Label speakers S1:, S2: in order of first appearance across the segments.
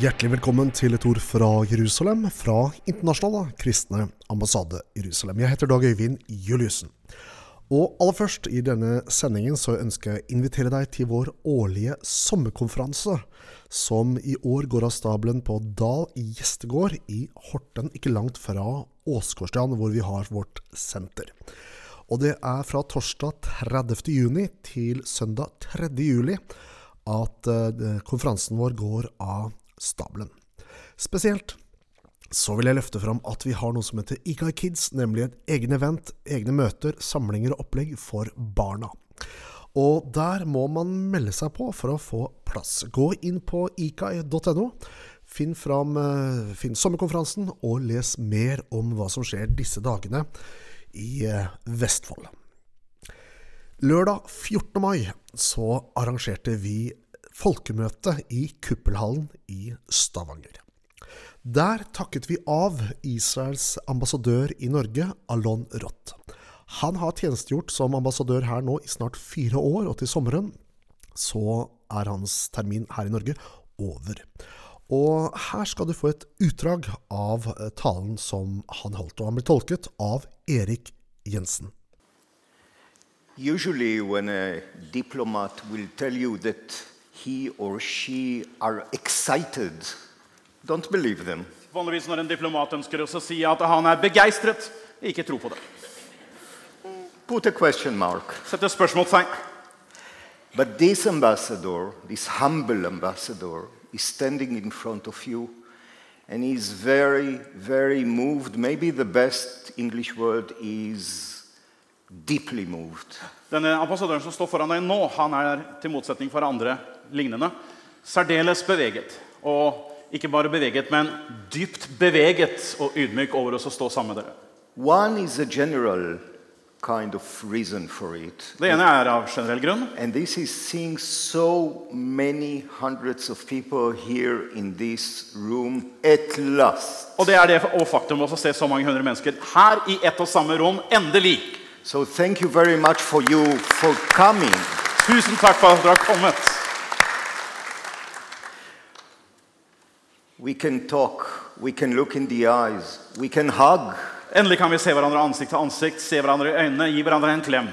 S1: Hjertelig velkommen til et ord fra Jerusalem, fra Internasjonale kristne ambassade Jerusalem. Jeg heter Dag Øyvind Juliussen. Og aller først i denne sendingen så ønsker jeg å invitere deg til vår årlige sommerkonferanse, som i år går av stabelen på Dal gjestegård i Horten, ikke langt fra Åsgårdstrand, hvor vi har vårt senter. Og det er fra torsdag 30. juni til søndag 3. juli at eh, konferansen vår går av stabelen. Spesielt så vil jeg løfte fram at vi har noe som heter Ikai Kids, nemlig et egen event, egne møter, samlinger og opplegg for barna. Og der må man melde seg på for å få plass. Gå inn på ikai.no, finn, fram, eh, finn sommerkonferansen og les mer om hva som skjer disse dagene i eh, Vestfold. Lørdag 14. mai så arrangerte vi folkemøte i Kuppelhallen i Stavanger. Der takket vi av Israels ambassadør i Norge, Alon Roth. Han har tjenestegjort som ambassadør her nå i snart fire år, og til sommeren så er hans termin her i Norge over. Og her skal du få et utdrag av eh, talen som han holdt, og han ble tolket av Erik Jensen.
S2: Usually, when a diplomat will tell you that he or she are excited, don't believe them.
S3: Vanligvis når en diplomat ønsker oss å si at han er begeistret, ikke tro på det.
S2: Put a question mark.
S3: Sette spørsmålstegn.
S2: But this ambassador, this humble ambassador, is standing in front of you and he's very, very moved. Maybe the best English word is deeply moved.
S3: Denne ambassadøren som står foran deg nå, han er til motsetning for andre lignende særdeles beveget. Og ikke bare beveget, men dypt beveget og ydmyk over oss å stå sammen med dere.
S2: One is a general kind of reason for it,
S3: Det ene er av generell grunn.
S2: And this is seeing so many hundreds of people here in this room at last.
S3: Og det er det og faktum også å se så mange hundre mennesker her i ett og samme rom. Endelig!
S2: So thank you very much for you for coming.
S3: Tusen takk for at dere har kommet.
S2: We can talk, we can look in the eyes, we can hug.
S3: Endelig kan vi se hverandre ansikt til ansikt, se hverandre i øynene, gi hverandre en klem.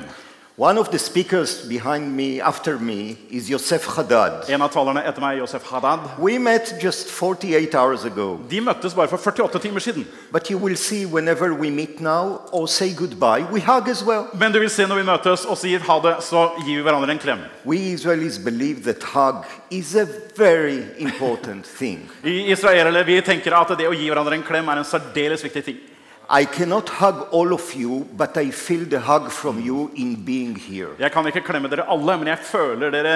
S2: One of the speakers behind me, after me, is Yosef Haddad.
S3: En av talerne etter meg, Josef Haddad,
S2: We met just 48 hours ago,
S3: De møttes bare for 48 timer siden.
S2: but you will see whenever we meet now or say goodbye, we hug as well.
S3: Men du vil se når vi møtes og sier ha det, så gir vi hverandre en klem.
S2: We Israelis believe that hug is a very important thing.
S3: I israelere vi tenker at det å gi hverandre en klem er en særdeles viktig ting.
S2: I cannot hug all of you, but I feel the hug from you in being here.
S3: Jeg kan ikke klemme dere alle, men jeg føler dere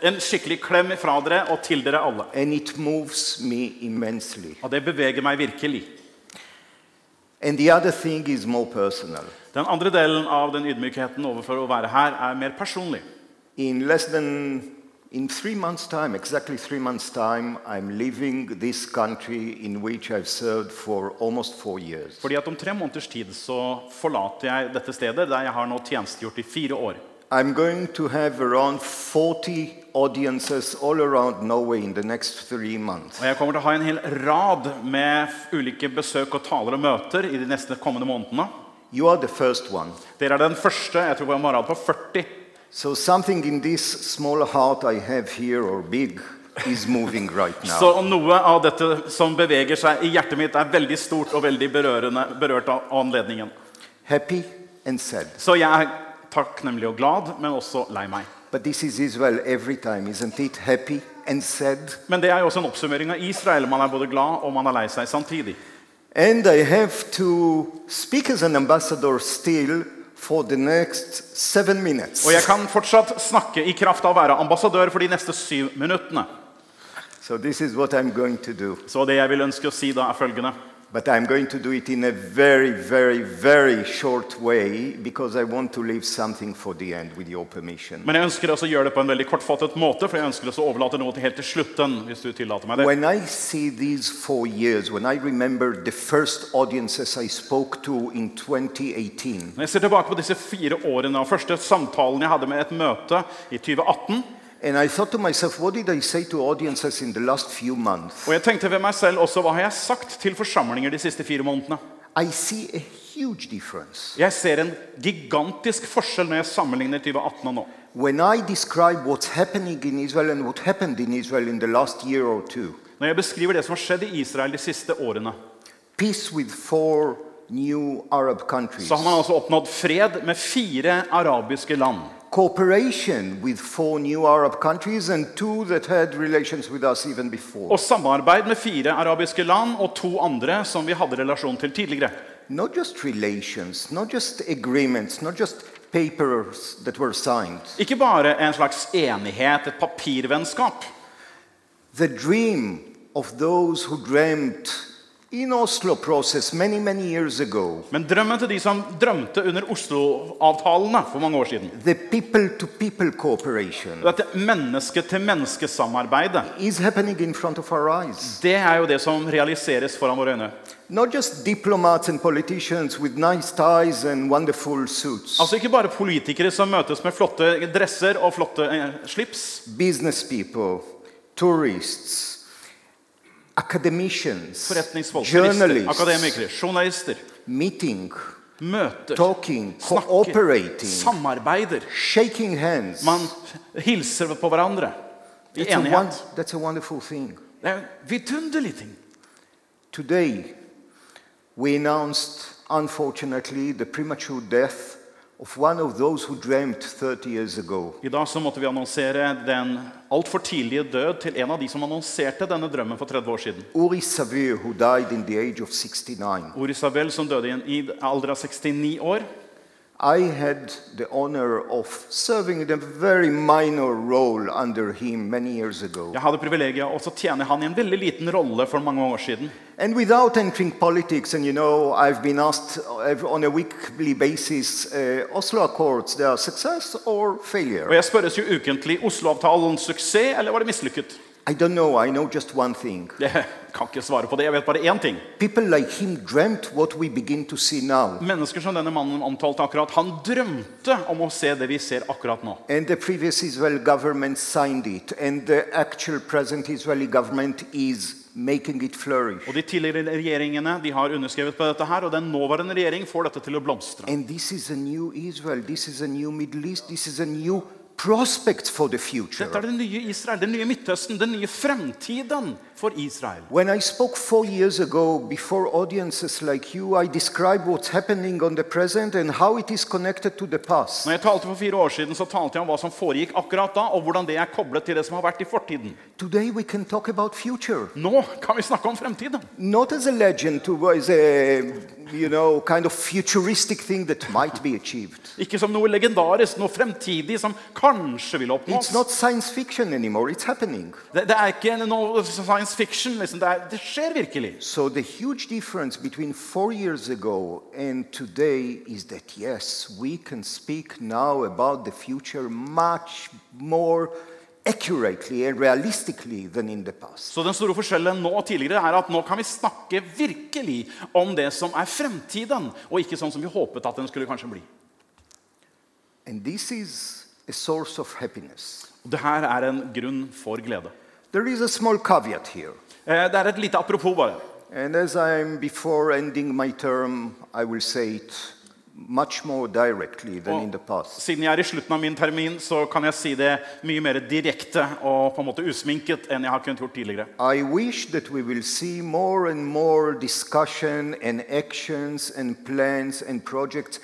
S3: en skikkelig klem fra dere og til dere alle.
S2: And it moves me immensely.
S3: Og det beveger meg virkelig.
S2: And the other thing is more personal.
S3: Den andre delen av den ydmykheten overfor å være her er mer personlig.
S2: In less than in three months' time, exactly three months' time, I'm leaving this country in which I've served for almost four years.
S3: Fordi at om tre måneders tid så forlater jeg dette stedet, der jeg har nå tjenestegjort i fire år.
S2: I'm going to have around 40 audiences all around Norway in the next three months.
S3: Og jeg kommer til å ha en hel rad med ulike besøk og taler og møter i de neste kommende månedene.
S2: You are the first one.
S3: Dere er den første. Jeg tror vi har en rad på 40.
S2: So something in this small heart I have here, or big, is moving right now.
S3: Så noe av dette som beveger seg i hjertet mitt, er veldig stort og veldig berørende, berørt av anledningen.
S2: Happy and sad.
S3: Så jeg er takknemlig og glad, men også lei meg.
S2: But this is Israel every time, isn't it? Happy and sad.
S3: Men det er jo også en oppsummering av Israel. Man er både glad og man er lei seg samtidig.
S2: And I have to speak as an ambassador still for the next seven minutes.
S3: Og jeg kan fortsatt snakke i kraft av å være ambassadør for de neste syv minuttene.
S2: So this is what I'm going to do.
S3: Så det jeg vil ønske å si da, er følgende.
S2: But I'm going to do it in a very, very, very short way because I want to leave something for the end, with your permission.
S3: Men jeg ønsker også å gjøre det på en veldig kortfattet måte, for jeg ønsker også å overlate noe til helt til slutten, hvis du tillater meg det.
S2: When I see these four years, when I remember the first audiences I spoke to in 2018,
S3: Når jeg ser tilbake på disse fire årene og første samtalen jeg hadde med et møte i 2018,
S2: And I thought to myself, what did I say to audiences in the last few months?
S3: Og jeg tenkte ved meg selv også hva har jeg sagt til forsamlinger de siste fire månedene.
S2: I see a huge difference.
S3: Jeg ser en gigantisk forskjell når jeg sammenligner 2018 og nå.
S2: When I describe what's happening in Israel and what happened in Israel in the last year or two,
S3: Når jeg beskriver det som har skjedd i Israel de siste årene,
S2: peace with four new Arab countries,
S3: så har man altså oppnådd fred med fire arabiske land.
S2: cooperation with four new Arab countries, and two that had relations with us even before.
S3: Og samarbeid med fire arabiske land og to andre som vi hadde relasjon til tidligere.
S2: Not just relations, not just agreements, not just papers that were signed.
S3: Ikke bare en slags enighet, et papirvennskap.
S2: The dream of those who dreamt in Oslo process many, many years ago,
S3: Men drømmen til de som drømte under Oslo-avtalene for mange år siden.
S2: the people-to-people cooperation
S3: Dette menneske-til-menneske-samarbeidet.
S2: is happening in front of our eyes.
S3: Det er jo det som realiseres foran våre øyne.
S2: Not just diplomats and politicians with nice ties and wonderful suits,
S3: Altså Ikke bare politikere som møtes med flotte dresser og flotte eh, slips.
S2: business people, tourists, academicians,
S3: Forretningsfolk, turister,
S2: journalists,
S3: akademikere, journalister.
S2: meeting,
S3: Møter,
S2: talking,
S3: snakker,
S2: cooperating,
S3: samarbeider.
S2: shaking hands.
S3: Man hilser på hverandre i
S2: That's a, won-
S3: enighet.
S2: that's a wonderful thing.
S3: Det er en vidunderlig ting.
S2: Today, we announced, unfortunately, the premature death of one of those who dreamt 30 years ago.
S3: I dag så måtte vi annonsere den altfor tidlige død til en av de som annonserte denne drømmen for 30 år siden.
S2: Uri Savir, who died in the age of 69.
S3: Uri Isabel, som døde i en i alder av 69 år.
S2: I had the honor of serving in a very minor role under him many years ago.
S3: Jeg hadde privilegiet av å tjene han i en veldig liten rolle for mange år siden.
S2: And without entering politics, and you know, I've been asked ev- on a weekly basis uh, Oslo Accords, they are success or failure?
S3: Og jeg spørres jo ukentlig Oslo-avtalen suksess eller var det mislykket?
S2: I don't know, I know just one thing.
S3: Jeg kan ikke svare på det. Jeg vet bare én ting.
S2: People like him dreamt what we begin to see now.
S3: Mennesker som denne mannen omtalte akkurat, han drømte om å se det vi ser akkurat nå.
S2: And the previous Israel government signed it, and the actual present Israeli government is making it flourish.
S3: Og De tidligere regjeringene de har underskrevet på dette, her, og den nåværende regjering får dette til å blomstre.
S2: And this is a new Israel, this is a new Middle East, this is a new prospect for the
S3: Dette
S2: future.
S3: er det nye Israel, det nye Midtøsten, den nye fremtiden for Israel.
S2: When I spoke four years ago before audiences like you, I described what's happening on the present and how it is connected to the past.
S3: Når jeg talte for fire år siden, så talte jeg om hva som foregikk akkurat da, og hvordan det er koblet til det som har vært i fortiden.
S2: Today we can talk about future.
S3: Nå kan vi snakke om fremtiden.
S2: not as a legend to as a you know kind of futuristic thing that might be achieved
S3: Ikke som noe legendarisk, noe fremtidig som kanskje vil oppnås.
S2: it's not science fiction anymore it's happening
S3: Det, det er ikke noe science fiction. Liksom. Det, er, det skjer virkelig.
S2: so the huge difference between four years ago and today is that yes we can speak now about the future much more accurately and realistically than in the past
S3: Så den store forskjellen nå og tidligere er at nå kan vi snakke virkelig om det som er fremtiden, og ikke sånn som vi håpet at den skulle kanskje bli.
S2: and this is a source of happiness
S3: Og det her er en grunn for glede.
S2: there is a small caveat here
S3: Eh, Det er et lite apropos, bare.
S2: And as I'm before ending my term, I will say it much more directly than in the past.
S3: Siden jeg er i slutten av min termin, så kan jeg si det mye mer direkte og på en måte usminket enn jeg har kunnet gjort tidligere.
S2: I wish that we will see more and more discussion and actions and plans and projects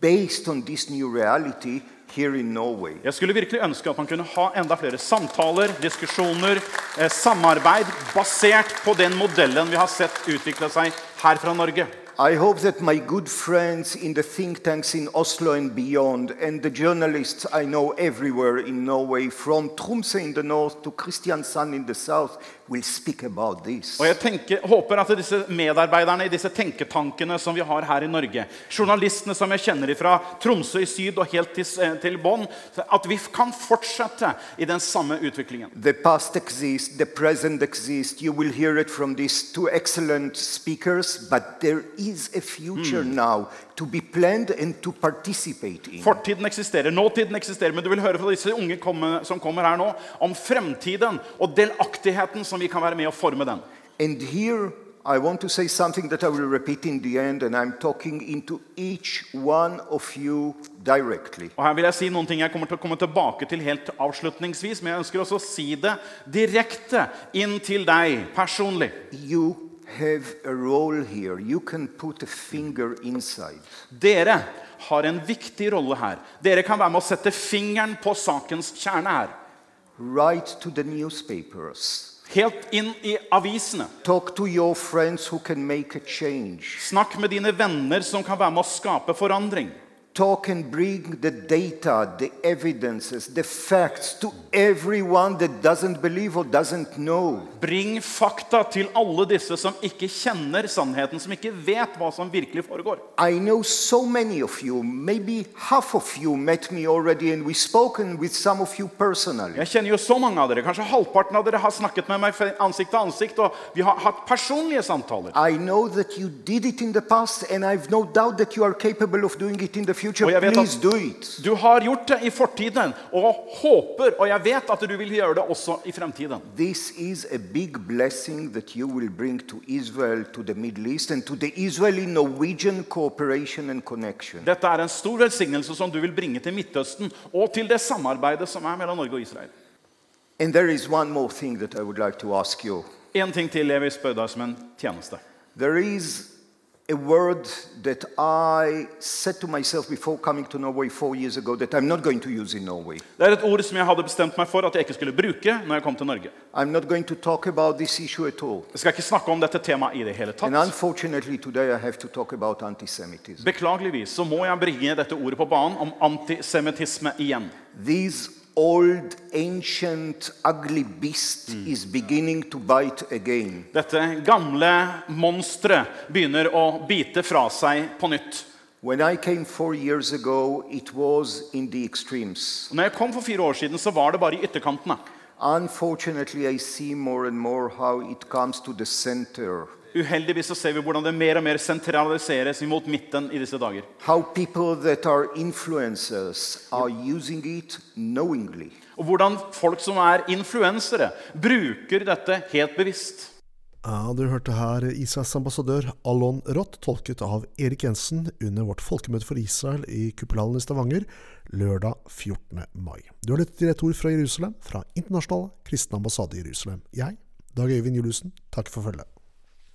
S2: based on this new reality here in Norway.
S3: Jeg skulle virkelig ønske at man kunne ha enda flere samtaler, diskusjoner, eh, samarbeid basert på den modellen vi har sett utvikle seg her fra Norge.
S2: I hope that my good friends in the think tanks in Oslo and beyond, and the journalists I know everywhere in Norway, from Tromsø in the north to Kristiansand in the south, will speak about this.
S3: Og jeg tenker, håper at disse medarbeiderne i disse tenketankene som vi har her i Norge, journalistene som jeg kjenner ifra Tromsø i syd og helt til, s- eh, til Bonn, at vi kan fortsette i den samme utviklingen.
S2: The past exists, the present exists. You will hear it from these two excellent speakers, but there is a future now to be planned and to participate in.
S3: Fortiden eksisterer, nåtiden eksisterer, men du vil høre fra disse unge komme, som kommer her nå, om fremtiden og delaktigheten som vi kan være med å forme den.
S2: And here I want to say something that I will repeat in the end, and I'm talking into each one of you directly.
S3: Og her vil jeg si noen ting jeg kommer til å komme tilbake til helt avslutningsvis, men jeg ønsker også å si det direkte inn til deg personlig.
S2: You have a role here. You can put a finger inside.
S3: Dere har en viktig rolle her. Dere kan være med å sette fingeren på sakens kjerne her.
S2: Write to the newspapers.
S3: Helt inn i avisene.
S2: Talk to your friends who can make a change.
S3: Snakk med dine venner som kan være med å skape forandring.
S2: Talk and bring the data, the evidences, the facts to everyone that doesn't believe or doesn't know.
S3: Bring fakta til alle disse som ikke kjenner sannheten, som ikke vet hva som virkelig foregår.
S2: I know so many of you, maybe half of you met me already and we've spoken with some of you personally.
S3: Jeg kjenner jo så mange av dere. Kanskje halvparten av dere har snakket med meg ansikt til ansikt, og vi har hatt personlige samtaler.
S2: I know that you did it in the past and I've no doubt that you are capable of doing it in the future.
S3: Oh, ja, weet
S2: Please
S3: dat-
S2: do it.
S3: Du har gjort det i fortiden og håper, og jeg vet at du vil gjøre det også i fremtiden.
S2: This is a big blessing that you will bring to Israel, to the Middle East, and to the Israeli Norwegian cooperation and connection.
S3: Dette er en stor velsignelse som du vil bringe til Midtøsten og til det samarbeidet som er mellom Norge og Israel.
S2: And there is one more thing that I would like to ask you.
S3: En ting til jeg vil spørre deg som en tjeneste.
S2: There is a word that I said to myself before coming to Norway four years ago that I'm not going to use in Norway.
S3: Det er et ord som jeg hadde bestemt meg for at jeg ikke skulle bruke når jeg kom til Norge.
S2: I'm not going to talk about this issue at all.
S3: Jeg skal ikke snakke om dette temaet i det hele
S2: And
S3: tatt.
S2: unfortunately, today I have to talk about anti Semitism.
S3: Beklageligvis så må jeg bringe dette ordet på banen om antisemittisme igjen.
S2: These old, ancient, ugly beast is beginning to bite again.
S3: Dette gamle monsteret begynner å bite fra seg på nytt.
S2: When I came four years ago, it was in the extremes.
S3: Og Når jeg kom for fire år siden, så var det bare i ytterkantene.
S2: Unfortunately, I see more and more how it comes to the center.
S3: Uheldigvis så ser vi hvordan det mer og mer sentraliseres mot midten i disse dager.
S2: how people that are influencers are using it knowingly.
S3: Og hvordan folk som er influensere, bruker dette helt bevisst.
S1: Ja, du hørte her Israels ambassadør Alon Roth tolket av Erik Jensen under vårt folkemøte for Israel i Kuppelhallen i Stavanger lørdag 14. mai. Du har lyttet til et ord fra Jerusalem, fra Internasjonal kristen ambassade i Jerusalem. Jeg, Dag Øyvind Juliussen, takker for følget.